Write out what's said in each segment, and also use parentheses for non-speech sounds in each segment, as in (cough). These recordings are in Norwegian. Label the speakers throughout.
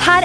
Speaker 1: her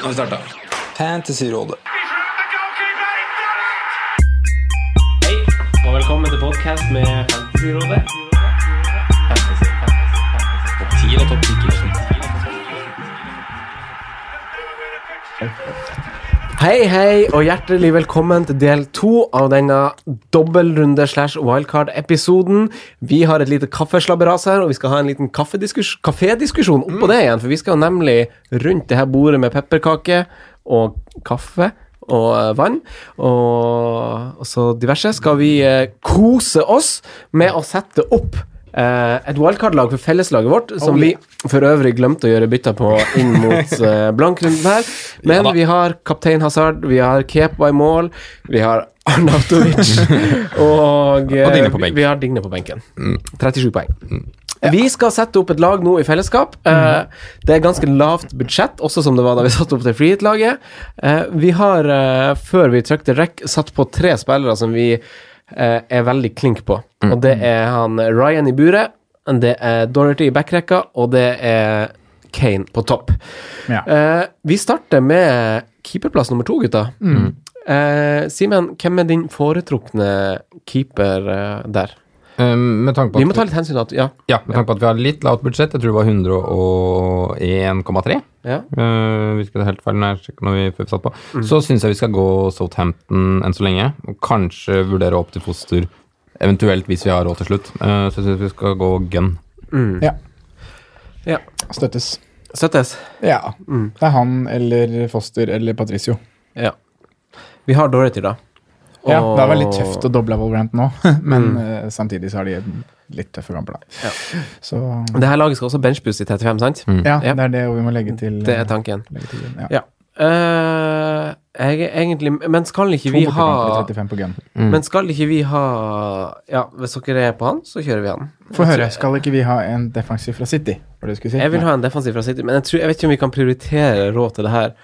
Speaker 2: Nå har vi starta. Fantasyrådet.
Speaker 3: Hei, og velkommen til podcast med Fantasyrådet. Topp 10 eller topp 10
Speaker 4: Hei, hei, og hjertelig velkommen til del to av denne dobbeltrunde slash wildcard-episoden. Vi har et lite kaffeslabberas her, og vi skal ha en liten kaffediskus- kafédiskusjon oppå det igjen. For vi skal nemlig rundt det her bordet med pepperkake og kaffe og eh, vann og, og så diverse. Skal vi eh, kose oss med å sette opp eh, et wildcard-lag for felleslaget vårt,
Speaker 2: Oh,
Speaker 4: som vi for øvrig glemte å gjøre bytter på inn
Speaker 2: (laughs)
Speaker 4: mot eh, blankrunden her. Men vi har kaptein Hazard, vi har Kepa i mål, vi har
Speaker 2: (laughs)
Speaker 4: Arnautovic og, eh,
Speaker 2: Og Digne på Mm. benk.
Speaker 4: vi har Digne på benken. 37 poeng. Vi skal sette opp et lag nå i fellesskap. Eh, det er ganske lavt budsjett, også som det var da vi (laughs) satte opp det Freehit-laget. Eh, vi har, eh, før vi trykte rekk, satt på tre spillere som vi eh, er veldig klink på. Og det er han Ryan i buret, det er Dorothy i backrekka, og det er Kane på topp.
Speaker 5: Ja.
Speaker 4: Eh, vi starter med keeperplass nummer to, gutta. Eh, Simen, hvem er din foretrukne keeper eh, der?
Speaker 2: Um, med tanke på
Speaker 4: Vi må
Speaker 2: at,
Speaker 4: ta litt hensyn til at Ja.
Speaker 2: ja, med tanke på at vi har litt lavt budsjett, jeg tror det var 101,3
Speaker 4: ja.
Speaker 2: uh, Virker det helt feil når jeg sjekker når vi før vi satt på.
Speaker 4: Mm.
Speaker 2: Så syns jeg vi skal gå Southampton enn så lenge, og kanskje vurdere opp til foster, eventuelt hvis vi har råd til slutt. Eh, så syns jeg vi skal gå gun.
Speaker 3: Ja.
Speaker 4: Ja.
Speaker 3: Støttes.
Speaker 4: Støttes.
Speaker 3: Ja. Det er han eller Foster eller Patricio.
Speaker 4: Ja. Vi har Dorothy, da.
Speaker 3: Ja,
Speaker 4: Og-
Speaker 3: det har vært litt tøft å doble Wolverhampton nå, (laughs) men eh, samtidig så har de litt tøffe kamper, da. Så
Speaker 4: Det her laget skal også benchboost i 35, sant?
Speaker 3: ja,
Speaker 4: Ja.
Speaker 3: det er det vi må legge til.
Speaker 4: Det er tanken.
Speaker 3: legge til ja.
Speaker 4: Ja. Eh, jeg er egentlig Men skal ikke
Speaker 3: To
Speaker 4: vi
Speaker 3: bortekamper
Speaker 4: ha
Speaker 3: og 35 på gun.
Speaker 4: Men skal ikke vi ha Ja, hvis dere er på han, så kjører vi han.
Speaker 3: Få høre, skal ikke vi ha en defensiv fra City? Var det du skulle si?
Speaker 4: Jeg vil
Speaker 3: Nei.
Speaker 4: ha en defensiv fra City, men jeg, tror, jeg vet ikke om vi kan prioritere råd til det her.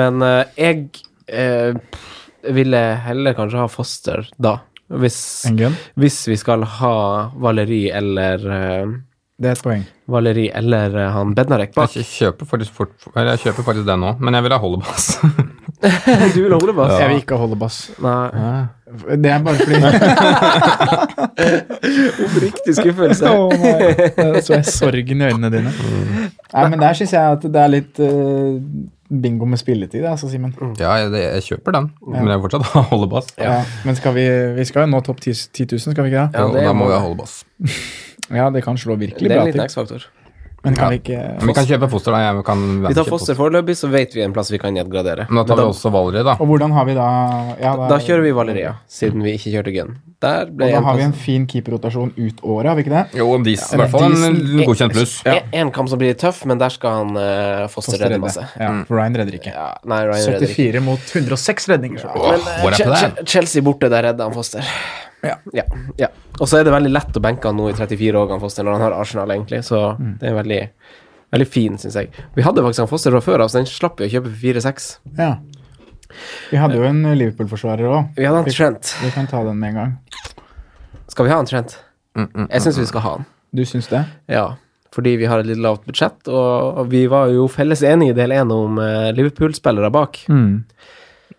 Speaker 4: Men eh, jeg eh, ville heller kanskje ha Foster da. Hvis,
Speaker 3: En gun?
Speaker 4: hvis vi skal ha Valeri eller eh,
Speaker 3: Det er et poeng.
Speaker 4: Valeri eller eh, han Bednarek bak.
Speaker 2: Jeg kjøper faktisk, fort, eller jeg kjøper faktisk det nå, men jeg vil ha Hollebass.
Speaker 4: (laughs) Du vil holde på?
Speaker 3: Jeg vil ikke holde bass.
Speaker 4: Nei.
Speaker 3: Det er bare fordi
Speaker 4: Oppriktig skuffelse.
Speaker 3: Åh, nei. (laughs) Da så Oh jeg sorgen i øynene dine. Nei, men der syns jeg at det er litt eh, bingo med spilletid, altså, Simen.
Speaker 4: Mm.
Speaker 2: ja, jeg, jeg kjøper den, men jeg vil fortsatt ha Hollebass.
Speaker 3: Ja. Men skal vi, vi skal jo nå topp 10 000, skal vi ikke det?
Speaker 4: Ja,
Speaker 2: og
Speaker 4: det
Speaker 2: da
Speaker 4: må
Speaker 2: må vi
Speaker 4: vi.
Speaker 2: ha Hollebass.
Speaker 3: Ja, det kan slå
Speaker 4: Det
Speaker 3: virkelig
Speaker 4: er
Speaker 3: bra
Speaker 4: en liten
Speaker 3: til.
Speaker 4: X-faktor.
Speaker 3: Men kan
Speaker 2: Ja.
Speaker 3: vi ikke
Speaker 2: Men vi kan kjøpe Foster, da. Jeg kan
Speaker 4: Vi tar Foster foreløpig, så vet vi en plass vi kan nedgradere.
Speaker 2: Men da tar vi også Valerie, da.
Speaker 3: Og hvordan har vi da ja,
Speaker 4: Da kjører vi Valeria, siden vi ikke kjørte Gun. Der
Speaker 3: Og
Speaker 4: ble
Speaker 3: da
Speaker 4: en
Speaker 3: har vi en
Speaker 4: plass.
Speaker 3: fin keeperrotasjon ut året, har vi ikke det?
Speaker 2: Jo, Dis,
Speaker 3: Ja,
Speaker 2: i hvert fall en
Speaker 3: Diesen-
Speaker 2: godkjent pluss.
Speaker 4: Ja. En kamp som blir tøff, men der skal han eh, Foster redde masse. Mm.
Speaker 3: Ja, for Ryan redder ikke.
Speaker 4: Ja, nei, Ryan redder ikke.
Speaker 3: 74 mot 106 redninger. så.
Speaker 2: Åh, hvor er
Speaker 4: Che-
Speaker 2: på det?
Speaker 4: Che- Chelsea borte, der redder han Foster.
Speaker 3: Ja.
Speaker 4: Ja, ja. Og så er det veldig lett å benke han nå i 34 år, han Foster, når han har Arsenal, egentlig. Så
Speaker 3: Mm.
Speaker 4: det er veldig, veldig fin, syns jeg. Vi hadde faktisk han Foster fra før av, så den slapp vi å kjøpe for 4-6.
Speaker 3: Ja. Vi hadde jo en Liverpool-forsvarer òg.
Speaker 4: Vi hadde han Trent.
Speaker 3: Vi kan ta den med en gang.
Speaker 4: Skal vi ha han Trent?
Speaker 2: Mm,
Speaker 4: Jeg syns vi skal ha han.
Speaker 3: Du syns det?
Speaker 4: Ja, fordi vi har et litt lavt budsjett, og vi var jo felles enige i del én om eh, Liverpool-spillere bak.
Speaker 3: Mm.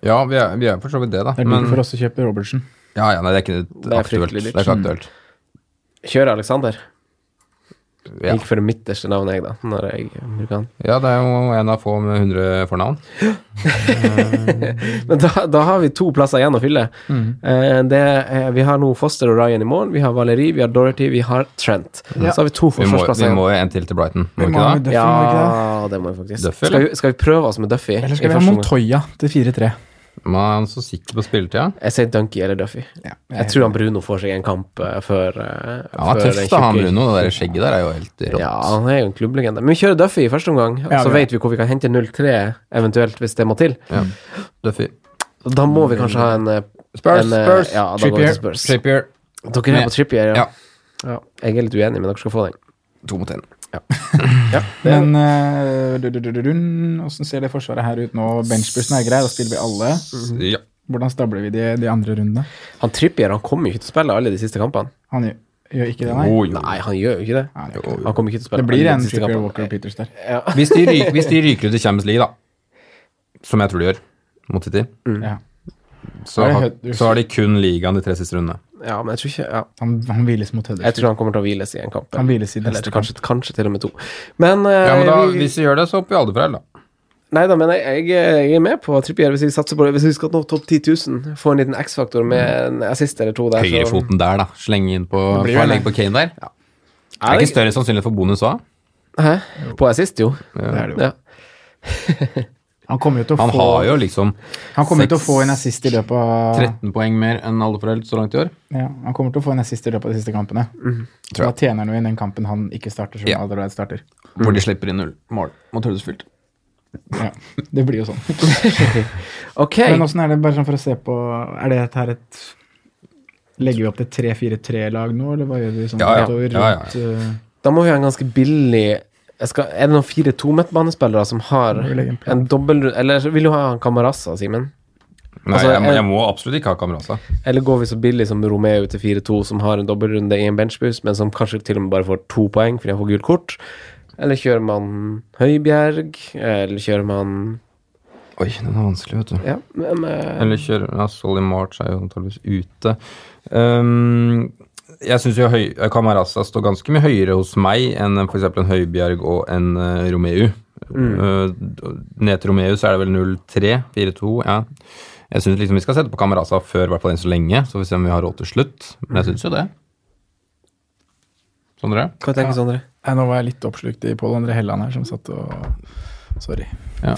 Speaker 2: Ja, vi er, vi er for så vidt det, da.
Speaker 3: Det er
Speaker 2: Men
Speaker 3: dyrt for oss å kjøpe Robertsen.
Speaker 2: ja, ja, nei, det er ikke
Speaker 4: er
Speaker 2: aktuelt.
Speaker 4: fryktelig
Speaker 2: Det
Speaker 4: dyrt.
Speaker 2: er ikke aktuelt.
Speaker 4: Kjører Alexander.
Speaker 2: Ja.
Speaker 4: Gikk for det midterste navnet, jeg, da. Når jeg bruker den.
Speaker 2: Ja, det er jo en av få med 100 fornavn.
Speaker 4: Men da, da har vi to plasser igjen å fylle.
Speaker 2: Mm.
Speaker 4: Eh, det, er- vi har nå Foster og Ryan i morgen. Vi har Valerie, vi har Dorothy, vi har Trent.
Speaker 3: Ja.
Speaker 4: Så har vi to
Speaker 2: Vi må,
Speaker 4: forsvarsplasser
Speaker 2: vi
Speaker 4: igjen.
Speaker 2: må jo en til til Brighton, må
Speaker 3: Vi
Speaker 2: vi
Speaker 3: må ha
Speaker 2: ikke
Speaker 3: med
Speaker 2: det?
Speaker 3: Duffy, må vi ikke det?
Speaker 4: Ja, det må vi faktisk.
Speaker 2: Duffy,
Speaker 4: skal,
Speaker 2: eller?
Speaker 4: vi, skal vi prøve oss med Duffy?
Speaker 3: Eller
Speaker 4: i
Speaker 3: skal vi ha
Speaker 4: første omgang?
Speaker 3: Montoya til 4-3?
Speaker 2: Man er så sikker på spilletida.
Speaker 4: Jeg sier Dunky eller Duffy.
Speaker 3: Ja,
Speaker 4: Jeg tror han Bruno får seg en kamp eh, før eh,
Speaker 2: Ja, Han
Speaker 4: før
Speaker 2: er tøff,
Speaker 4: den
Speaker 2: da, han
Speaker 4: tjukke-
Speaker 2: Bruno. Det der skjegget der er jo helt rått.
Speaker 4: Ja, han er jo en klubblegende. Men vi kjører Duffy i første omgang,
Speaker 3: Ja,
Speaker 4: så
Speaker 3: vi-
Speaker 4: vet vi hvor vi kan hente 0-3 eventuelt, hvis det må til.
Speaker 2: Ja. Duffy.
Speaker 4: Og Da må vi kanskje ha en eh,
Speaker 2: Spurs,
Speaker 4: en, eh,
Speaker 2: Spurs,
Speaker 4: Ja, da går vi til
Speaker 3: Trippier,
Speaker 4: Spurs.
Speaker 2: Trippier.
Speaker 4: Dere er på Trippier, ja.
Speaker 2: Ja.
Speaker 4: ja. Jeg er litt uenig, men dere skal få den.
Speaker 2: To mot én.
Speaker 3: Men eh, du, du, du, du, du, Hvordan ser det forsvaret her ut nå? Benchbussen er grei, da spiller vi alle.
Speaker 2: Mm-hmm. Ja.
Speaker 3: Hvordan stabler vi de, de andre rundene?
Speaker 4: Han Trippier han kommer jo ikke til å spille alle de siste kampene.
Speaker 3: Han gjør, gjør ikke det, nei?
Speaker 2: Jo, jo.
Speaker 4: Nei, han gjør jo ikke det.
Speaker 3: Nei, det, gjør ikke det.
Speaker 4: Han kommer ikke til å spille
Speaker 3: det blir
Speaker 4: alle
Speaker 3: en
Speaker 4: de siste
Speaker 3: Trippier
Speaker 4: kampene.
Speaker 3: Walker og Peters der.
Speaker 2: Hvis de, ryker, hvis de ryker ut i Champions League, da, som jeg tror de gjør, mot City,
Speaker 4: Mm.
Speaker 3: Ja.
Speaker 2: så
Speaker 3: Er det
Speaker 2: har,
Speaker 3: Huddersfield?
Speaker 2: så har de kun ligaen de tre siste rundene.
Speaker 4: Ja, men jeg tror ikke ja.
Speaker 3: Han, han hviles mot
Speaker 4: Jeg
Speaker 3: Huddersfield.
Speaker 4: tror han kommer til å hviles i en kamp.
Speaker 3: Han hviles i
Speaker 4: Eller
Speaker 3: neste kamp.
Speaker 4: kanskje, kanskje til og med to. Men, eh,
Speaker 2: Ja, men da,
Speaker 4: vi,
Speaker 2: Hvis de gjør det, så hopper vi alle fra L, da.
Speaker 4: Nei da, men jeg, jeg, jeg er med på Trippier hvis vi satser på det. Hvis vi skal nå topp 10 000, få en liten X-faktor med en assist eller to der, så-
Speaker 2: Høyrefoten der, da. Slenge inn på,
Speaker 3: blir vel
Speaker 2: legge på Kane der. Det
Speaker 4: Er
Speaker 2: er
Speaker 4: det-
Speaker 2: ikke større sannsynlighet for bonus òg.
Speaker 4: Hæ? På assist, jo.
Speaker 3: Det er det jo.
Speaker 4: Ja.
Speaker 3: Han kommer jo til å
Speaker 2: Han
Speaker 3: få,
Speaker 2: har jo liksom
Speaker 3: han kommer jo til å
Speaker 2: seks-
Speaker 3: få en assist i løpet av
Speaker 2: 13 poeng mer enn alle for L så langt i år.
Speaker 3: ja, Han kommer til å få en assist i løpet av de siste kampene.
Speaker 2: Mhm. Tror
Speaker 3: Da
Speaker 2: jeg.
Speaker 3: tjener han jo inn den kampen han ikke starter, som
Speaker 2: Ja.
Speaker 3: allerede starter.
Speaker 2: Hvor de slipper inn null mål mot Huddersfield.
Speaker 3: Ja, det blir jo sånn.
Speaker 2: (laughs)
Speaker 4: Ok.
Speaker 3: Men åssen er det, bare sånn for å se på Er det her et Legger vi opp til 3-4-3-lag nå, eller hva gjør vi sånn
Speaker 2: Ja, ja.
Speaker 3: utover?
Speaker 2: Ja, ja.
Speaker 3: rundt, uh,
Speaker 4: Da må vi ha en ganske billig jeg skal, Er det noen 4-2-midtbanespillere som har
Speaker 3: vi legge en plan.
Speaker 4: en dobbel Eller så vil du ha en Camarasa, Simen?
Speaker 2: Nei,
Speaker 4: Altså,
Speaker 2: jeg, må-
Speaker 4: jeg-
Speaker 2: jeg må absolutt ikke ha altså. Kamerasa.
Speaker 4: Eller går vi så billig som Romeo til 4-2, som har en dobbeltrunde i en benchboost, men som kanskje til og med bare får to poeng fordi han får gult kort? Eller kjører man Høibjerg? Eller kjører man
Speaker 2: Oi, den er vanskelig, vet du.
Speaker 4: Ja, men eh,
Speaker 2: Eller kjøre ja, Solly March er jo antageligvis ute. Ehm, jeg syns jo høy, Camarasa står ganske mye høyere hos meg enn f.eks. en Høibjerg og en eh, Romeu.
Speaker 4: Mm.
Speaker 2: Eh, ned til Romeu så er det vel 0-3-4-2. Ja. Jeg syns liksom vi skal sette på Camarasa før, i hvert fall enn så lenge. Så får vi se om vi har råd til slutt. Men
Speaker 4: Mm.
Speaker 2: jeg syns jo det. Sondre?
Speaker 4: Hva tenker Sondre?
Speaker 3: Nei, nå var jeg litt oppslukt i Pål André Helland her, som satt og Sorry.
Speaker 2: Ja.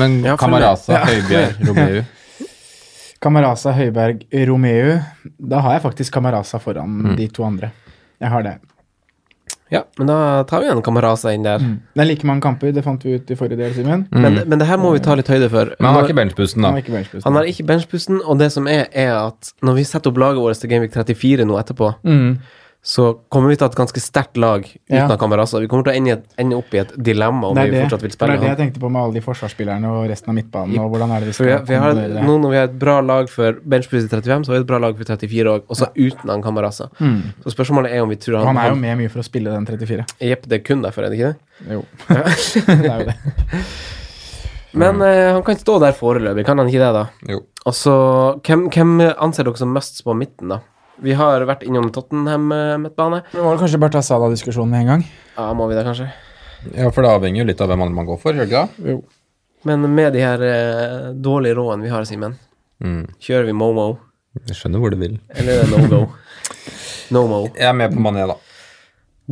Speaker 2: Men
Speaker 4: Ja, for-
Speaker 2: Camarasa, Høibjerg,
Speaker 4: (laughs)
Speaker 2: Romeu
Speaker 3: Camarasa, Høiberg, Romeu. Da har jeg faktisk Camarasa foran
Speaker 2: Mm.
Speaker 3: de to andre. Jeg har det.
Speaker 4: Ja, men da tar vi en Camarasa inn der.
Speaker 3: Det er like mange kamper, det fant vi ut i forrige del, Simen.
Speaker 2: Mm.
Speaker 4: Men, men det her må vi ta litt høyde for.
Speaker 2: Men han har
Speaker 4: Når-
Speaker 2: ikke benchboosten,
Speaker 3: Han
Speaker 2: da.
Speaker 3: har ikke benchboost.
Speaker 4: han har ikke benchpusten, og det som er, er at når vi setter opp laget vårt til Gameweek 34 nå etterpå,
Speaker 3: Mm.
Speaker 4: så kommer vi til å ha et ganske sterkt lag uten
Speaker 3: Ja.
Speaker 4: av Camarasa. Vi kommer til å ende, i et- ende opp i et dilemma om
Speaker 3: Det
Speaker 4: vi
Speaker 3: er det,
Speaker 4: fortsatt vil
Speaker 3: det
Speaker 4: spille
Speaker 3: er det jeg
Speaker 4: han.
Speaker 3: tenkte på med alle de forsvarsspillerne og resten av midtbanen. og hvordan er det vi
Speaker 4: For vi,
Speaker 3: skal
Speaker 4: vi har,
Speaker 3: kombinere det.
Speaker 4: nå når vi har et bra lag for benchpust i 35, så har vi et bra lag for 34 òg, også uten han Camarasa. Så spørsmålet er om vi tror han,
Speaker 3: Mm. Han er jo med mye for å spille den 34.
Speaker 4: Jepp, det er kun derfor, er det ikke det?
Speaker 3: Jo. (laughs) det er
Speaker 4: (laughs)
Speaker 3: jo det.
Speaker 4: Men eh, han kan stå der foreløpig, kan han ikke det, da?
Speaker 2: Mm. Jo.
Speaker 4: Og så, hvem, hvem anser dere som mest på midten, da? Vi har vært innom Tottenham-midtbane.
Speaker 3: Vi må kanskje bare ta Sala-diskusjonen med en gang.
Speaker 4: Ja, må vi det, kanskje?
Speaker 2: Ja, for det avhenger jo litt av hvem andre man går for, gjør det ikke det?
Speaker 3: Jo.
Speaker 4: Men med de her eh, dårlige rådene vi har, Simen,
Speaker 2: Mm.
Speaker 4: kjører vi Momo,
Speaker 2: Jeg skjønner hvor du vil.
Speaker 4: eller er det no
Speaker 2: (laughs)
Speaker 4: go? No-mo.
Speaker 2: Jeg er med på Mané, da.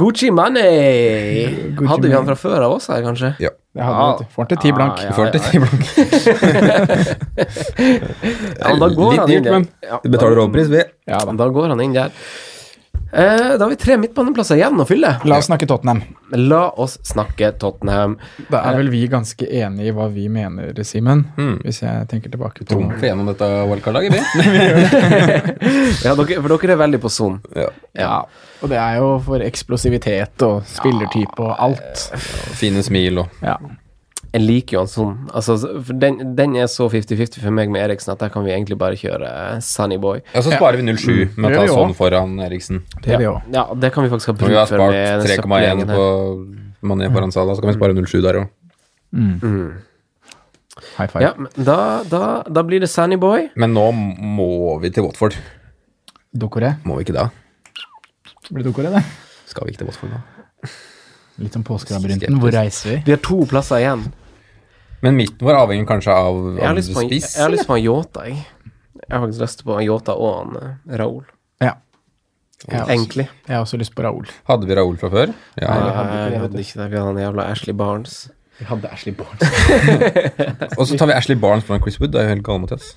Speaker 4: Gucci Money!
Speaker 3: Gucci
Speaker 4: Hadde vi han
Speaker 3: Mane.
Speaker 4: fra før av oss her, kanskje?
Speaker 2: Ja.
Speaker 3: Det hadde
Speaker 4: Ja.
Speaker 3: vi, vet du. Får han til ti blank.
Speaker 4: Ah,
Speaker 2: Du får til ti blokk.
Speaker 4: Ja, da går
Speaker 2: Litt
Speaker 4: han inn
Speaker 2: dyrt,
Speaker 4: der.
Speaker 2: men vi betaler overpris, vi.
Speaker 4: Ja, da. da går han inn der. Eh, da har vi tre midtbaneplasser igjen å fylle.
Speaker 3: La oss snakke Tottenham.
Speaker 4: La oss snakke Tottenham.
Speaker 3: Da er vel vi ganske enige i hva vi mener, Simen.
Speaker 4: Hmm.
Speaker 3: Hvis jeg tenker tilbake på
Speaker 2: Trumfer gjennom dette wildcard-laget, vi.
Speaker 4: Ja, dere, for dere er veldig på Zoom.
Speaker 2: Ja.
Speaker 4: Ja.
Speaker 3: Og det er jo for eksplosivitet og spillertype og alt.
Speaker 2: Fine smil og
Speaker 3: Ja.
Speaker 4: Jeg liker jo han sånn. Altså, for den, den er så 50-50 for meg med Eriksen at der kan vi egentlig bare kjøre eh, Sunny Boy.
Speaker 2: Ja, så sparer vi 0,7 med
Speaker 3: Det
Speaker 2: å ta
Speaker 3: gjør vi
Speaker 2: sånn
Speaker 3: også.
Speaker 2: foran Eriksen.
Speaker 3: Det er vi òg.
Speaker 4: Ja, det kan vi faktisk ha
Speaker 2: Når vi
Speaker 4: bruk
Speaker 2: har
Speaker 4: for med
Speaker 2: spart
Speaker 4: den
Speaker 2: 3,1
Speaker 4: søppelgjengen
Speaker 2: på
Speaker 4: her.
Speaker 2: Mané foran Salah, så kan vi spare 0,7 der òg.
Speaker 3: High five.
Speaker 4: Ja, men da, da, da blir det Sunny Boy.
Speaker 2: Men nå må vi til Watford.
Speaker 3: Dokore.
Speaker 2: Må vi ikke da?
Speaker 3: Blir det Dokore, det?
Speaker 2: Skal vi ikke til Watford nå?
Speaker 3: Litt om påskelabyrinten. Hvor reiser vi?
Speaker 4: Vi har to plasser igjen.
Speaker 2: Men midten vår avhenger kanskje av
Speaker 4: Jeg har
Speaker 2: om du
Speaker 4: lyst på en, jeg
Speaker 2: spiser.
Speaker 4: har lyst på en Yota, jeg. Jeg har faktisk lyst på en Yota og en eh, Raoul.
Speaker 3: Ja. Jeg har, også,
Speaker 4: Egentlig.
Speaker 3: jeg har også lyst på Raoul.
Speaker 2: Hadde vi Raoul fra før? Ja.
Speaker 4: Nei,
Speaker 3: hadde ikke det,
Speaker 4: jeg
Speaker 3: vet du.
Speaker 4: hadde ikke det. Vi hadde han jævla Ashley Barnes. (laughs)
Speaker 3: Vi hadde Ashley (laughs) Bourne.
Speaker 2: Og så tar vi Ashley Barnes foran Chris Wood. Det er jo helt gale mot oss.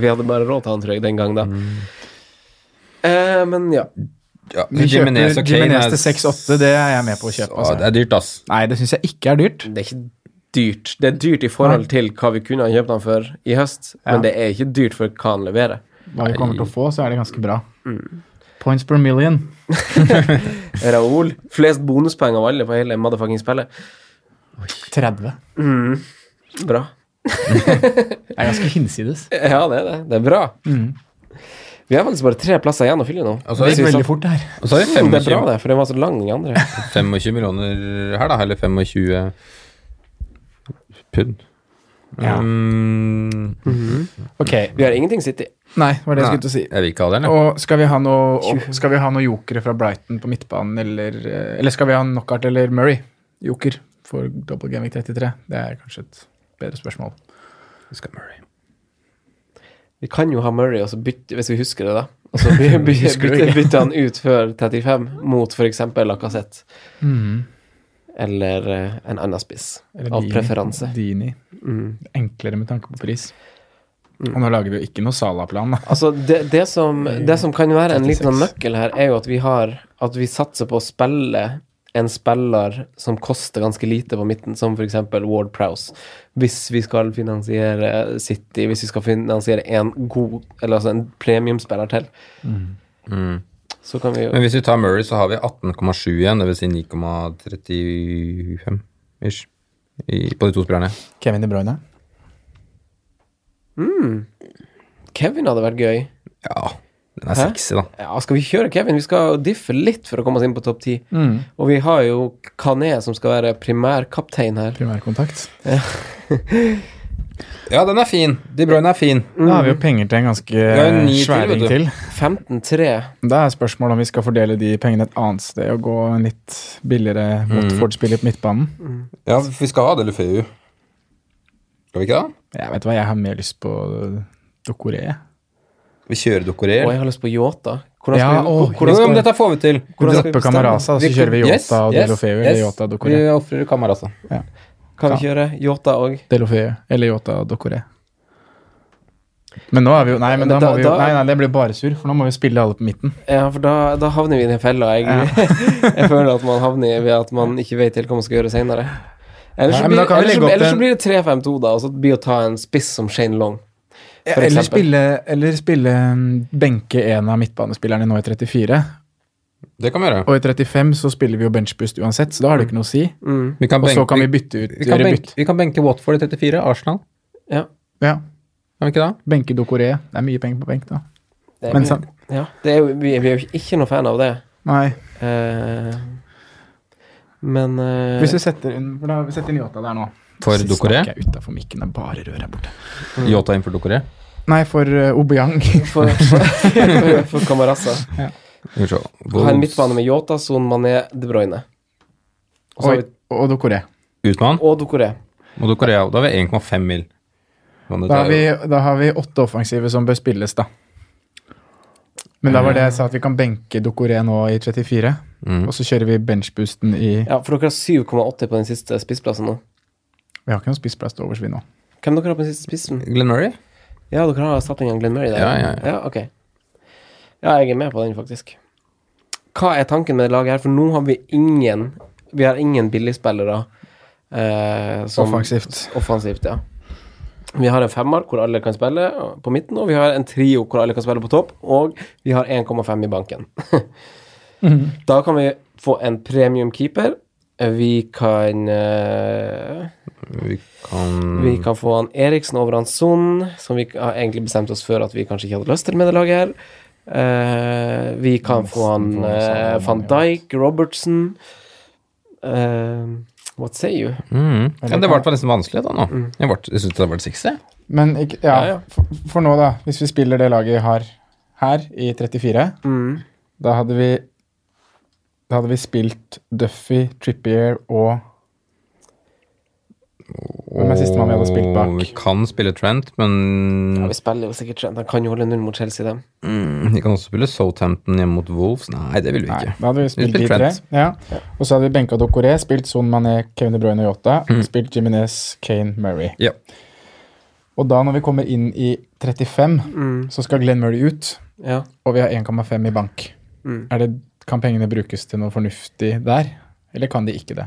Speaker 4: Vi hadde bare råd til han, tror jeg, den gang, da.
Speaker 2: Mm.
Speaker 4: Eh, men ja.
Speaker 2: Ja.
Speaker 3: Vi kjøper
Speaker 2: Jimenez og Kane
Speaker 3: Jimenez
Speaker 2: er-
Speaker 3: til 6-8, det er jeg med på å kjøpe.
Speaker 2: Å, Det
Speaker 3: Altså.
Speaker 2: er dyrt, ass.
Speaker 3: Nei, det syns jeg ikke er dyrt.
Speaker 4: Det er ikke dyrt. Det er dyrt i forhold til hva vi kunne ha kjøpt han for i høst,
Speaker 3: Ja.
Speaker 4: men det er ikke dyrt for hva han leverer.
Speaker 3: Hva vi kommer til å få, så er det ganske bra. Points per million.
Speaker 4: Raoul, flest bonuspoeng av alle på hele motherfucking spillet.
Speaker 3: 30.
Speaker 4: Bra.
Speaker 3: Det er ganske hinsides.
Speaker 4: Ja, det er det. Det er bra. Vi har faktisk bare tre plasser igjen å fylle nå.
Speaker 2: Og så
Speaker 3: Mm. Altså, Det
Speaker 2: er
Speaker 3: gikk
Speaker 2: vi,
Speaker 3: veldig fort, det her.
Speaker 2: og så er vi
Speaker 4: Mm, det er bra,
Speaker 2: 25,
Speaker 4: det, for den var så lang, den andre.
Speaker 2: 25 millioner her, da. Eller 25 pund.
Speaker 3: Ja.
Speaker 2: Um,
Speaker 3: Ok.
Speaker 4: Vi har ingenting City.
Speaker 3: Nei, det var det jeg
Speaker 2: nei,
Speaker 3: skulle til å si.
Speaker 2: Jeg vil ikke ha den, jeg.
Speaker 3: Og skal vi ha noe, skal vi ha noe jokere fra Brighton på midtbanen, eller, eh, eller skal vi ha Knockout eller Murray? Joker for Double Game Week 33. Det er kanskje et bedre spørsmål.
Speaker 2: Vi skal Murray.
Speaker 4: Vi kan jo ha Murray, og så bytte, hvis vi husker det, da. Og
Speaker 3: (laughs)
Speaker 4: så by, by,
Speaker 3: Husker du
Speaker 4: bytte,
Speaker 3: ikke?
Speaker 4: bytte han ut før 35 mot f.eks. Lacassette. Eller eh, en annen spiss.
Speaker 3: Mm. Eller
Speaker 4: av
Speaker 3: Dini.
Speaker 4: preferanse.
Speaker 3: Dini. Enklere med tanke på pris. Og nå lager vi jo ikke noe Sala-plan,
Speaker 4: (laughs)
Speaker 3: da.
Speaker 4: Altså, det, det, som, det som kan være en liten nøkkel her, er jo at vi har At vi satser på å spille en spiller som koster ganske lite på midten, som f.eks. Ward Prowse. Hvis vi skal finansiere City, hvis vi skal finansiere en god Eller altså en premiumspiller til, så kan vi jo
Speaker 2: Men hvis vi tar Murray, så har vi 18,7 igjen, dvs. Si 9,35 ish. I, på de to spillerne.
Speaker 3: Kevin De Bruyne.
Speaker 4: Kevin hadde vært gøy.
Speaker 2: Ja, den er
Speaker 4: Hæ?
Speaker 2: sexy, da.
Speaker 4: Ja, skal vi kjøre Kevin? Vi skal diffe litt for å komme oss inn på topp ti. Og vi har jo Kané, som skal være primærkaptein her.
Speaker 3: Primærkontakt.
Speaker 2: Ja, den er fin. De Bruyne er fin.
Speaker 3: Da har vi jo penger til en ganske
Speaker 2: er jo ni til,
Speaker 3: sværing
Speaker 2: vet du.
Speaker 3: til.
Speaker 4: 15-3.
Speaker 3: Da er spørsmålet om vi skal fordele de pengene et annet sted og gå en litt billigere Watford-spiller på midtbanen.
Speaker 2: Ja, vi skal ha Delefeu. Skal vi ikke det?
Speaker 3: Jeg vet hva, jeg har mer lyst på Dokoré.
Speaker 2: Vi kjører Dokoré.
Speaker 4: Og jeg har lyst på Yota. Hvordan
Speaker 3: Ja,
Speaker 4: skal vi,
Speaker 3: åh,
Speaker 4: hvor-
Speaker 2: Jo,
Speaker 4: hvordan skal
Speaker 2: men
Speaker 4: vi
Speaker 2: dette får vi til.
Speaker 3: Vi
Speaker 4: Hvordan skal vi
Speaker 3: dropper
Speaker 4: bestemme?
Speaker 3: Camarasa, så kjører vi
Speaker 2: Yes,
Speaker 3: Yota og
Speaker 2: yes,
Speaker 3: Delofeu
Speaker 2: yes.
Speaker 3: eller Yota og Dokoré.
Speaker 2: Vi ofrer Kamara, altså.
Speaker 4: Kan vi kjøre Yota òg?
Speaker 3: Delofeu eller Yota og Dokoré. Men nå er vi jo Nei, men da,
Speaker 4: Da-
Speaker 3: må vi jo,
Speaker 4: da-
Speaker 3: nei, nei, det blir bare sur, for nå må vi spille alle på midten.
Speaker 4: Ja, for da, da havner vi i den fella. Jeg, (laughs) jeg føler at man havner ved at man ikke vet helt hva man skal gjøre seinere. Ellers,
Speaker 3: Nei,
Speaker 4: så
Speaker 3: men da
Speaker 4: blir,
Speaker 3: kan vi
Speaker 4: ellers,
Speaker 3: legge
Speaker 4: så,
Speaker 3: opp
Speaker 4: ellers så
Speaker 3: en-
Speaker 4: blir det 3-5-2, da, og så blir å ta en spiss som Shane Long. For
Speaker 3: Eller
Speaker 4: eksempel.
Speaker 3: spille, eller spille mm, benke en av midtbanespillerne nå i 34.
Speaker 2: Det kan vi gjøre.
Speaker 3: Og i 35 så spiller vi jo benchboost uansett, så da har det ikke noe å si.
Speaker 4: Mm.
Speaker 2: Vi kan
Speaker 3: Og så
Speaker 2: benke,
Speaker 3: kan vi bytte ut
Speaker 2: vi kan
Speaker 3: gjøre
Speaker 2: benke,
Speaker 3: bytt.
Speaker 2: vi kan benke Watford i 34, Arsenal.
Speaker 4: Ja,
Speaker 3: Ja,
Speaker 2: Kan vi ikke det?
Speaker 3: Benke Dokoré. Det er mye penger på benk, da.
Speaker 4: det er,
Speaker 3: Men sam-
Speaker 4: ja, det er, jo- vi, vi er jo ikke noe fan av det.
Speaker 3: Nei.
Speaker 4: Eh, men eh,
Speaker 3: Hvis vi setter inn, for da, vi setter inn Yota der nå
Speaker 2: For
Speaker 3: Så
Speaker 2: Doucouré?
Speaker 3: Snakker jeg utenfor mikken, det er bare rør her borte.
Speaker 2: Yota innenfor Dokoré.
Speaker 3: Nei, for uh, Obiang.
Speaker 4: (laughs) for, (laughs) for, for Camarasa
Speaker 3: (laughs)
Speaker 2: Skal vi se.
Speaker 4: Ha en midtbane med Yota, Son Mané, De Bruyne. Og så har
Speaker 3: Og,
Speaker 4: vi
Speaker 3: og Dokoré.
Speaker 2: Utmann
Speaker 4: Og Dokoré.
Speaker 2: og Dokoré. Da har vi 1,5 mil. Men dette
Speaker 3: Da har,
Speaker 2: er jo-
Speaker 3: vi, da har vi åtte offensive som bør spilles, da. Men da var det jeg sa at vi kan benke Dokoré nå i 34, og så kjører vi benchboosten i
Speaker 4: Ja, for dere har 7,8 på den siste spissplassen nå.
Speaker 3: Vi har ikke noen spissplass til overs, vi nå.
Speaker 4: Hvem dere har på den siste spissen?
Speaker 2: Glenn Murray?
Speaker 4: Ja, dere har satt inn en Glenn Murray der?
Speaker 2: Ja, ja, ja.
Speaker 4: ok. Ja, jeg er med på den, faktisk. Hva er tanken med det laget her? For nå har vi ingen Vi har ingen billigspillere eh, som-
Speaker 3: Offensivt.
Speaker 4: Offensivt, ja. Vi har en femmer hvor alle kan spille og- på midten, og vi har en trio hvor alle kan spille på topp, og vi har 1,5 i banken. (laughs) Da kan vi få en premium keeper. Vi kan eh,
Speaker 2: Vi kan
Speaker 4: vi kan få han Eriksen over han Son, som vi har egentlig bestemt oss for at vi kanskje ikke hadde lyst til med det laget her. Eh, vi kan få han
Speaker 3: få
Speaker 4: eh,
Speaker 3: samme
Speaker 4: van
Speaker 3: mann, ja.
Speaker 4: Dijk, Robertson Eh, What say you?
Speaker 2: Mhm. Ja, det Mm. ble i hvert fall nesten vanskelig da nå. Jeg, ble, jeg synes det ble sexy.
Speaker 3: Men ikke, ja,
Speaker 4: Ja, ja.
Speaker 3: For, for nå, da. Hvis vi spiller det laget vi har her, i 34, da hadde vi Da hadde vi spilt Duffy, Trippier og Hvem er sistemann vi hadde spilt bak?
Speaker 2: Og Vi kan spille Trent, men
Speaker 3: Mm.
Speaker 4: Ja, vi spiller jo sikkert Trent. Han kan jo holde null mot Chelsea, dem.
Speaker 2: mm, vi kan også spille Southampton hjemme mot Wolves. Nei, det vil vi
Speaker 3: Nei,
Speaker 2: ikke.
Speaker 3: da hadde vi spilt
Speaker 2: spilte
Speaker 3: de tre.
Speaker 2: Trent.
Speaker 3: Ja. Og så hadde vi benka Dokoré, spilt Son Mané, Kevin De Bruyne og Yota.
Speaker 2: Mm.
Speaker 3: Spilt Jiminez, Kane, Murray.
Speaker 2: Ja.
Speaker 3: Og da når vi kommer inn i 35, så skal Glenn Murray ut,
Speaker 4: Ja.
Speaker 3: og vi har 1,5 i bank. Er det, kan pengene brukes til noe fornuftig der, eller kan de ikke det?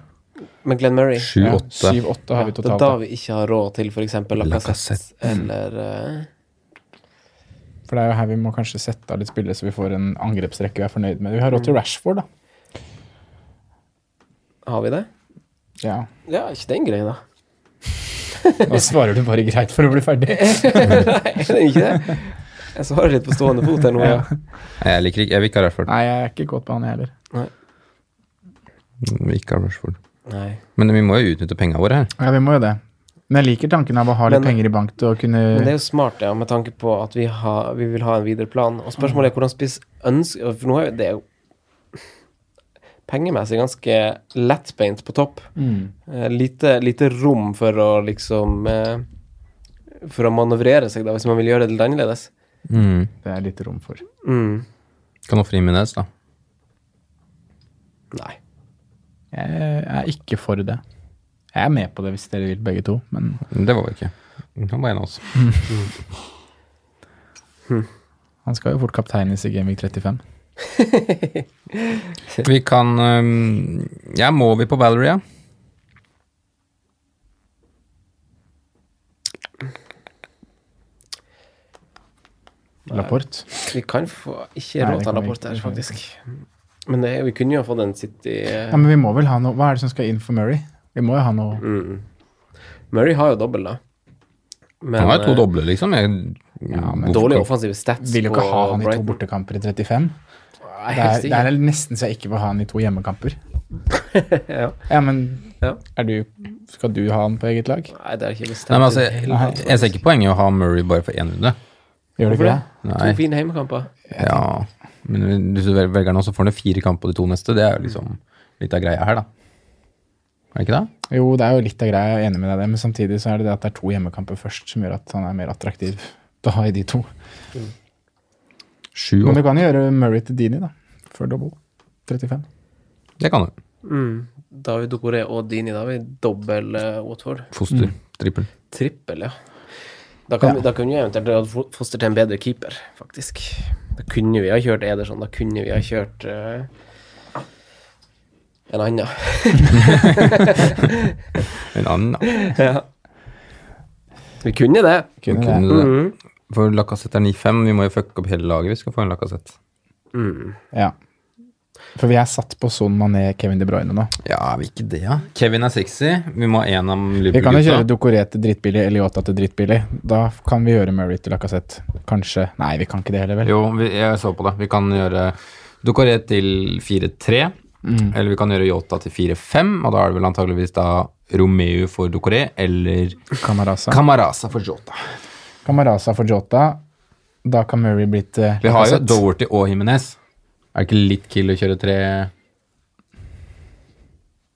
Speaker 4: Men Glenn Murray
Speaker 3: Ja,
Speaker 2: 7-8.
Speaker 3: 7-8 har vi
Speaker 4: Det er
Speaker 3: totalt.
Speaker 4: da
Speaker 3: da.
Speaker 4: vi ikke har råd til f.eks. Lacassette
Speaker 2: Lacazette.
Speaker 4: eller eh,
Speaker 3: For det er jo her vi må kanskje sette av litt spillere, så vi får en angrepsrekke vi er fornøyd med. Vi har råd til Rashford, da.
Speaker 4: Har vi det?
Speaker 3: Ja.
Speaker 4: Ja, ikke den greia, da. (laughs)
Speaker 3: Nå svarer du bare greit for å bli ferdig.
Speaker 4: Nei, det er ikke det. Jeg svarer litt på stående fot her nå, ja.
Speaker 2: Nei, Jeg liker ikke Jeg vil ikke ha Rashford.
Speaker 3: Nei, jeg er ikke godt på han, jeg heller.
Speaker 2: Vi vil Ikke ha Rashford.
Speaker 4: Nei.
Speaker 2: Men vi må jo utnytte pengene våre her.
Speaker 3: Ja, vi må jo det. Men jeg liker tanken av å ha litt
Speaker 4: Men-
Speaker 3: penger i bank til å kunne
Speaker 4: Men det er jo smart, ja, med tanke på at vi, har, vi vil ha en videre plan. Og spørsmålet er hvordan spiss ønsker For nå er jo det er jo pengemessig ganske lettbeint på topp. Eh, lite, lite rom for å liksom eh, For å manøvrere seg, da, hvis man vil gjøre det litt annerledes.
Speaker 2: Mm.
Speaker 3: Det er litt rom for.
Speaker 4: Mm.
Speaker 2: Kan ofre Jimenez, da.
Speaker 4: Nei.
Speaker 3: Jeg er ikke for det. Jeg er med på det hvis dere vil, begge to. Men
Speaker 2: Men Det var vi ikke. Han var en av oss.
Speaker 3: han skal jo fort kapteines i Gamevik 35.
Speaker 2: Vi kan øhm, Ja, må vi på Valerie, ja?
Speaker 3: Laporte.
Speaker 4: Vi kan få ikke
Speaker 3: Nei,
Speaker 4: råd til en
Speaker 3: det kan vi
Speaker 4: rapport der,
Speaker 3: ikke.
Speaker 4: faktisk. Men det, vi kunne jo ha fått en City eh,
Speaker 3: Ja, men vi må vel ha noe Hva er det som skal inn for Murray? Vi må jo ha noe
Speaker 4: Mm. Murray har jo dobbel, da. Men,
Speaker 2: Han har jo to
Speaker 4: eh,
Speaker 2: doble, liksom. Jeg,
Speaker 3: men
Speaker 4: Dårlige offensive stats
Speaker 3: Vil jo ikke
Speaker 4: på
Speaker 3: ha han i to
Speaker 4: Brighton.
Speaker 3: bortekamper i 35.
Speaker 4: Nei,
Speaker 3: Det er,
Speaker 4: helst
Speaker 3: det
Speaker 4: ikke.
Speaker 3: er nesten så jeg ikke vil ha han i to hjemmekamper.
Speaker 4: (laughs) Ja.
Speaker 3: Ja, men
Speaker 4: Ja.
Speaker 3: er du, skal du ha han på eget lag?
Speaker 4: Nei, det er ikke bestemt.
Speaker 2: Nei, men altså,
Speaker 4: i det
Speaker 2: jeg,
Speaker 4: hele tatt.
Speaker 2: jeg ser ikke poenget i å ha Murray bare for én runde.
Speaker 3: Gjør du
Speaker 4: Hvorfor
Speaker 3: ikke
Speaker 4: det?
Speaker 3: det?
Speaker 2: Nei.
Speaker 4: To fine hjemmekamper.
Speaker 2: Ja, men hvis du vel- velger nå, så får han jo fire kamper på de to neste. Det er jo liksom litt av greia her, da. Er det ikke det?
Speaker 3: Jo, det er jo litt av greia, jeg er enig med deg i det, men samtidig så er det det at det er to hjemmekamper først som gjør at han er mer attraktiv da i de to.
Speaker 2: Sju
Speaker 3: Men du
Speaker 2: åtte.
Speaker 3: kan jo gjøre Murray til Dini, da, for double 35.
Speaker 2: Det kan du.
Speaker 4: David Dokore og Dini. Da har vi dobbel eh, Watford.
Speaker 2: Foster.
Speaker 3: Mm.
Speaker 2: Trippel.
Speaker 4: Trippel, ja. Da, kan,
Speaker 3: Ja.
Speaker 4: da kunne vi eventuelt ha fo- Foster til en bedre keeper, faktisk. Da kunne vi ha kjørt Ederson. Da kunne vi ha kjørt eh, en annen.
Speaker 2: En annen, da.
Speaker 4: (laughs) ja. Vi kunne det.
Speaker 3: Kunne det.
Speaker 2: Kunne du det?
Speaker 3: Mm.
Speaker 2: For Lacassette er 9-5. Vi må jo fucke opp hele laget. Vi skal få en Lacassette.
Speaker 3: Ja. For vi er satt på Son Mané, Kevin De Bruyne nå.
Speaker 2: Ja, er vi ikke det, da? Kevin er 60. Vi må ha én av
Speaker 3: Vi kan jo kjøre
Speaker 2: Liverpool-gutta.
Speaker 3: Dokoré til drittbillig, Eliota til drittbillig. Da kan vi gjøre Murray til Lacassette. Kanskje Nei, vi kan ikke det heller, vel?
Speaker 2: Jo, vi, jeg så på det. Vi kan gjøre Ducoré til 4-3. Eller vi kan gjøre Yota til 4-5, og da er det vel antageligvis da Romeo for Ducoré eller
Speaker 3: Camarasa.
Speaker 2: Camarasa for Jota.
Speaker 3: Camarasa for Jota. Da kan Murray bli til
Speaker 2: Vi har jo
Speaker 3: Lacazette.
Speaker 2: Doherty og Jimenez. Er det ikke litt kill å kjøre tre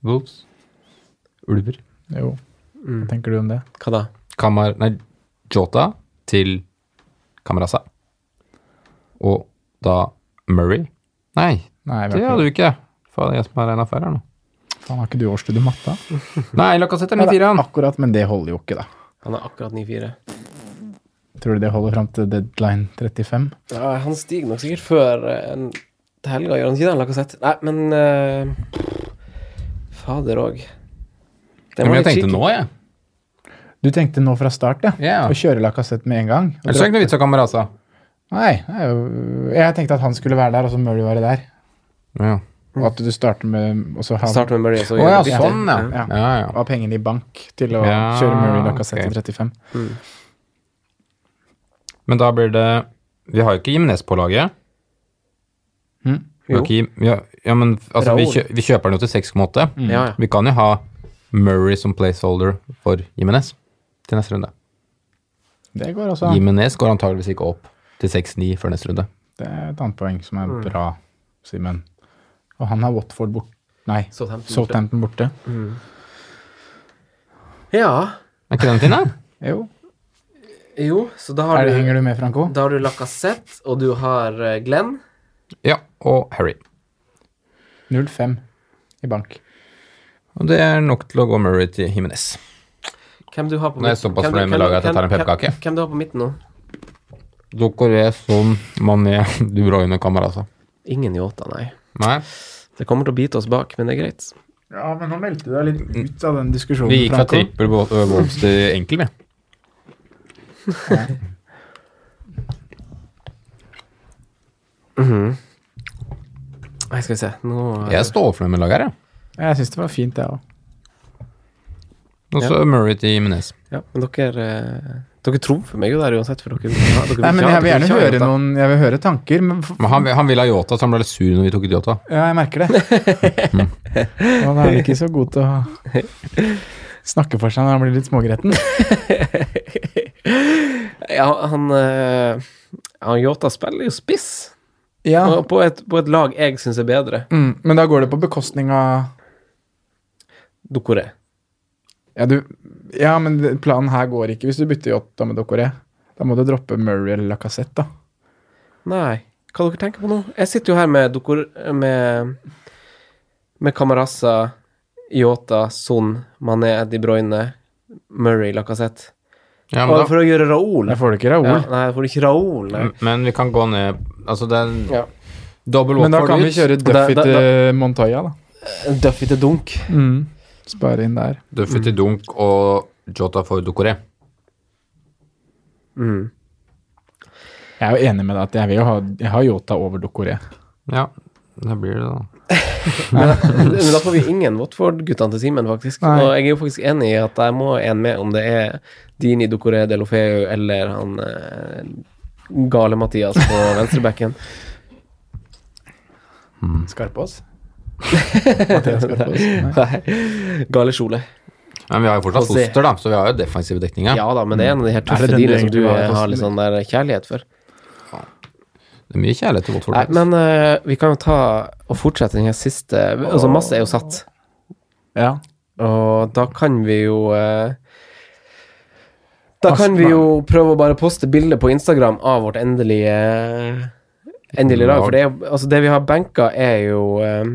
Speaker 2: Wolves? Ulver?
Speaker 3: Jo. Hva tenker du om det?
Speaker 4: Hva da?
Speaker 2: Kamar... Nei, Jota til Kamaraza. Og da Murray. Nei,
Speaker 3: Nei, vi
Speaker 2: det
Speaker 3: har
Speaker 2: hadde
Speaker 3: ikke,
Speaker 2: du ikke. Faen, jeg som har regna feil her nå.
Speaker 3: faen, har ikke du årsstudium matte? da?
Speaker 2: Nei, Lacassette er
Speaker 3: Ja, det
Speaker 2: 94,
Speaker 3: er
Speaker 2: han.
Speaker 3: Akkurat, men det holder jo ikke, da.
Speaker 4: Han er akkurat 9-4.
Speaker 3: Tror du det holder fram til deadline 35?
Speaker 4: Ja, han stiger nok sikkert før eh, en, til helga, gjør han ikke det? Lacassette? Nei, men eh, Fader òg.
Speaker 2: Ja, men jeg tenkte nå, jeg.
Speaker 3: Du tenkte nå fra start, ja?
Speaker 2: Ja.
Speaker 3: Å kjøre Lacassette med en gang? Og
Speaker 2: Ellers er det ikke noe vits i Kamaraza.
Speaker 3: dra- Nei, det er jo- jeg tenkte at han skulle være der, og så Murray være der.
Speaker 2: Ja.
Speaker 3: Og at du starter med Og så ha,
Speaker 4: Start med Murray, så
Speaker 2: Å
Speaker 4: gjør
Speaker 2: ja,
Speaker 4: vi det.
Speaker 2: sånn, ja.
Speaker 3: Ja.
Speaker 2: ja, ja.
Speaker 3: ha pengene i bank til å
Speaker 2: Ja,
Speaker 3: kjøre Murray Lacassette
Speaker 2: ok.
Speaker 3: til 35.
Speaker 2: Men da blir det Vi har jo ikke Jimenez på laget. Vi har
Speaker 4: Jo.
Speaker 2: ikke Jim- vi har, ja, men altså, vi,
Speaker 4: Raoul.
Speaker 2: kjø, vi kjøper den jo til 6,8.
Speaker 4: Ja, ja.
Speaker 2: Vi kan jo ha Murray som placeholder for Jimenez til neste runde.
Speaker 3: Det går også. an.
Speaker 2: Jimenez går antageligvis ikke opp til 6,9 før neste runde.
Speaker 3: Mm. Det er et annet poeng som er bra, Simen. Og han har Watford bort. Nei,
Speaker 4: Southampton borte.
Speaker 3: Southampton borte.
Speaker 4: Ja.
Speaker 2: Er ikke den fin, da? (laughs)
Speaker 3: Jo.
Speaker 4: Jo, så da
Speaker 3: Er
Speaker 4: har
Speaker 3: det,
Speaker 4: du,
Speaker 3: henger du med, Franco?
Speaker 4: da har du Lacassette, og du har eh, Glenn.
Speaker 2: Ja. Og Harry.
Speaker 3: 0-5 i bank.
Speaker 2: Og det er nok til å gå Murray til Jimenez.
Speaker 4: Hvem du har på
Speaker 2: Nå er jeg
Speaker 4: midten?
Speaker 2: såpass
Speaker 4: Hvem du-
Speaker 2: fornøyd med
Speaker 4: hvem du-
Speaker 2: laget at jeg tar en
Speaker 4: hvem-
Speaker 2: pepperkake.
Speaker 4: Hvem, hvem du har på midten nå?
Speaker 2: Dokoré, Son, E, sånn Mané, (laughs) De Bruyne, Camarasa.
Speaker 4: Ingen Yota, nei.
Speaker 2: altså. Nei.
Speaker 4: Det kommer til å bite oss bak, men det er greit.
Speaker 3: Ja, men nå meldte du deg litt ut av den diskusjonen,
Speaker 2: Vi gikk fra trippel på ø, Wolves til enkel, vi.
Speaker 4: Mhm. Nei, skal vi se. Nå eh,
Speaker 2: Jeg står fornøyd med laget her, jeg.
Speaker 3: Jeg syns det var fint, jeg òg.
Speaker 2: Og så Murray til Jimenez.
Speaker 4: Ja, men dere eh, Dere trumfer meg jo der uansett, for dere, dere, dere
Speaker 3: Nei, men jeg
Speaker 4: dere
Speaker 3: vil gjerne
Speaker 4: ikke ha
Speaker 3: høre
Speaker 4: Jota.
Speaker 3: noen Jeg vil høre tanker, men f-
Speaker 2: Men han, han ville ha Yota, så han ble litt sur når vi tok ut Yota.
Speaker 3: Ja, jeg
Speaker 4: (laughs)
Speaker 3: merker det. Han er ikke så god til å snakke for seg når han blir litt smågretten.
Speaker 4: (laughs) Ja, han eh, han Yota spiller jo spiss,
Speaker 3: Ja,
Speaker 4: og på et, på et lag jeg syns er bedre.
Speaker 3: mm, Men da går det på bekostning av
Speaker 4: Dokore.
Speaker 3: Ja, du, ja men det- planen her går ikke hvis du bytter Jota med Dokoré. Da må du droppe Murray eller Lacassette, da.
Speaker 4: Nei, hva dere tenker på nå? Jeg sitter jo her med Dokore Med, med Camarasa, Yota, Son, Mané, De Bruyne, Murray, Lacassette.
Speaker 2: Ja, men,
Speaker 4: Og
Speaker 2: da,
Speaker 4: for å gjøre Raoul. Mm.
Speaker 3: Da får du ikke Raoul.
Speaker 4: Ja, nei, for ikke Raoul. Nei.
Speaker 2: men vi kan gå ned Altså, det er
Speaker 4: Ja.
Speaker 2: dobbel
Speaker 3: Men da
Speaker 2: Watford
Speaker 3: kan vi
Speaker 2: ut.
Speaker 3: kjøre
Speaker 4: Da-
Speaker 3: Duffy
Speaker 4: da- Mm.
Speaker 3: til Montoya, da.
Speaker 4: Duffy til dunk.
Speaker 3: Spare inn der.
Speaker 2: Duffy
Speaker 4: Mm.
Speaker 2: til Dunk og Jota for Dokoré.
Speaker 4: Mm.
Speaker 3: Jeg er jo enig med deg at jeg vil jo ha jeg har Jota over Dokoré.
Speaker 2: Ja, det blir det, da.
Speaker 4: Men da får vi ingen Watford-guttene til Simen, faktisk.
Speaker 3: Nei.
Speaker 4: Og jeg er jo faktisk enig i at jeg må en med om det er Dini Dokoré de Lofeu eller han eh, gale Mathias (laughs) på venstrebacken.
Speaker 3: (laughs) Skarpås?
Speaker 4: Nei, gale Skjole.
Speaker 2: Men vi har jo fortsatt
Speaker 4: Få se.
Speaker 2: foster, da, så vi har jo defensive dekninger.
Speaker 4: Ja da, men det er en av de her
Speaker 3: Mm. Er
Speaker 4: tøffe
Speaker 3: det den
Speaker 4: dealene som
Speaker 3: du
Speaker 4: du
Speaker 3: egentlig
Speaker 4: eh,
Speaker 3: har
Speaker 4: har litt sånn der kjærlighet for.
Speaker 2: Det er mye kjærlighet til Watford. altså.
Speaker 4: Nei,
Speaker 2: faktisk.
Speaker 4: men eh, vi kan jo ta og fortsette den her siste Altså, masse er jo satt.
Speaker 3: Ja.
Speaker 4: Og da kan vi jo eh, Da
Speaker 3: Pass
Speaker 4: kan vi
Speaker 3: meg.
Speaker 4: jo prøve å bare poste bilde på Instagram av vårt endelige eh, Endelige lag. For det, er, jo- altså det vi har benka, er jo eh,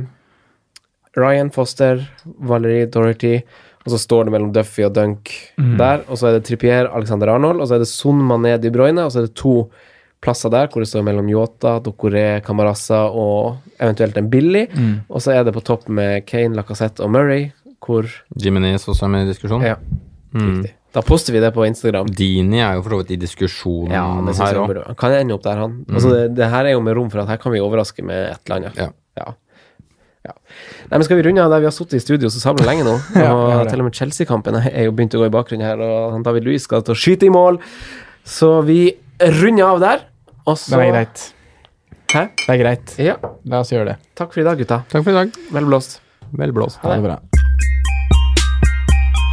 Speaker 4: Ryan Foster, Valerie Dorothy, og så står det mellom Duffy og Dunk der. Og så er det Trippier, Alexander Arnold, og så er det Son Mané de Bruyne, og så er det to plasser der hvor det står mellom Yota, Dokoré, Camarasa og eventuelt en Billy. Og så er det på topp med Kane, Lacassette og Murray, hvor
Speaker 2: Jimenez også er med i diskusjonen.
Speaker 4: Ja, riktig. Da poster vi det på Instagram.
Speaker 2: Dini er jo for så vidt i diskusjonen
Speaker 4: Ja, det synes
Speaker 2: her
Speaker 4: jeg
Speaker 2: òg.
Speaker 4: burde Han kan ende opp der, han.
Speaker 3: Mm.
Speaker 4: Altså, det, det her er jo med rom for at her kan vi overraske med et eller annet.
Speaker 2: Ja.
Speaker 4: Ja. Ja. Nei, men skal vi runde av der vi har sittet i studio så sabla lenge
Speaker 3: (laughs)
Speaker 4: nå? Og
Speaker 3: har det.
Speaker 4: til og med Chelsea-kampen er jo begynt å gå i bakgrunnen her, og han David Louis skal til å skyte i mål. Så vi runder av der, og så
Speaker 3: Det er greit.
Speaker 4: Hæ?
Speaker 3: Det er greit.
Speaker 4: Ja.
Speaker 3: La oss gjøre det.
Speaker 4: Takk for i dag, gutta.
Speaker 2: Takk for i dag.
Speaker 4: Vel blåst.
Speaker 2: Vel blåst.
Speaker 3: Ha det bra.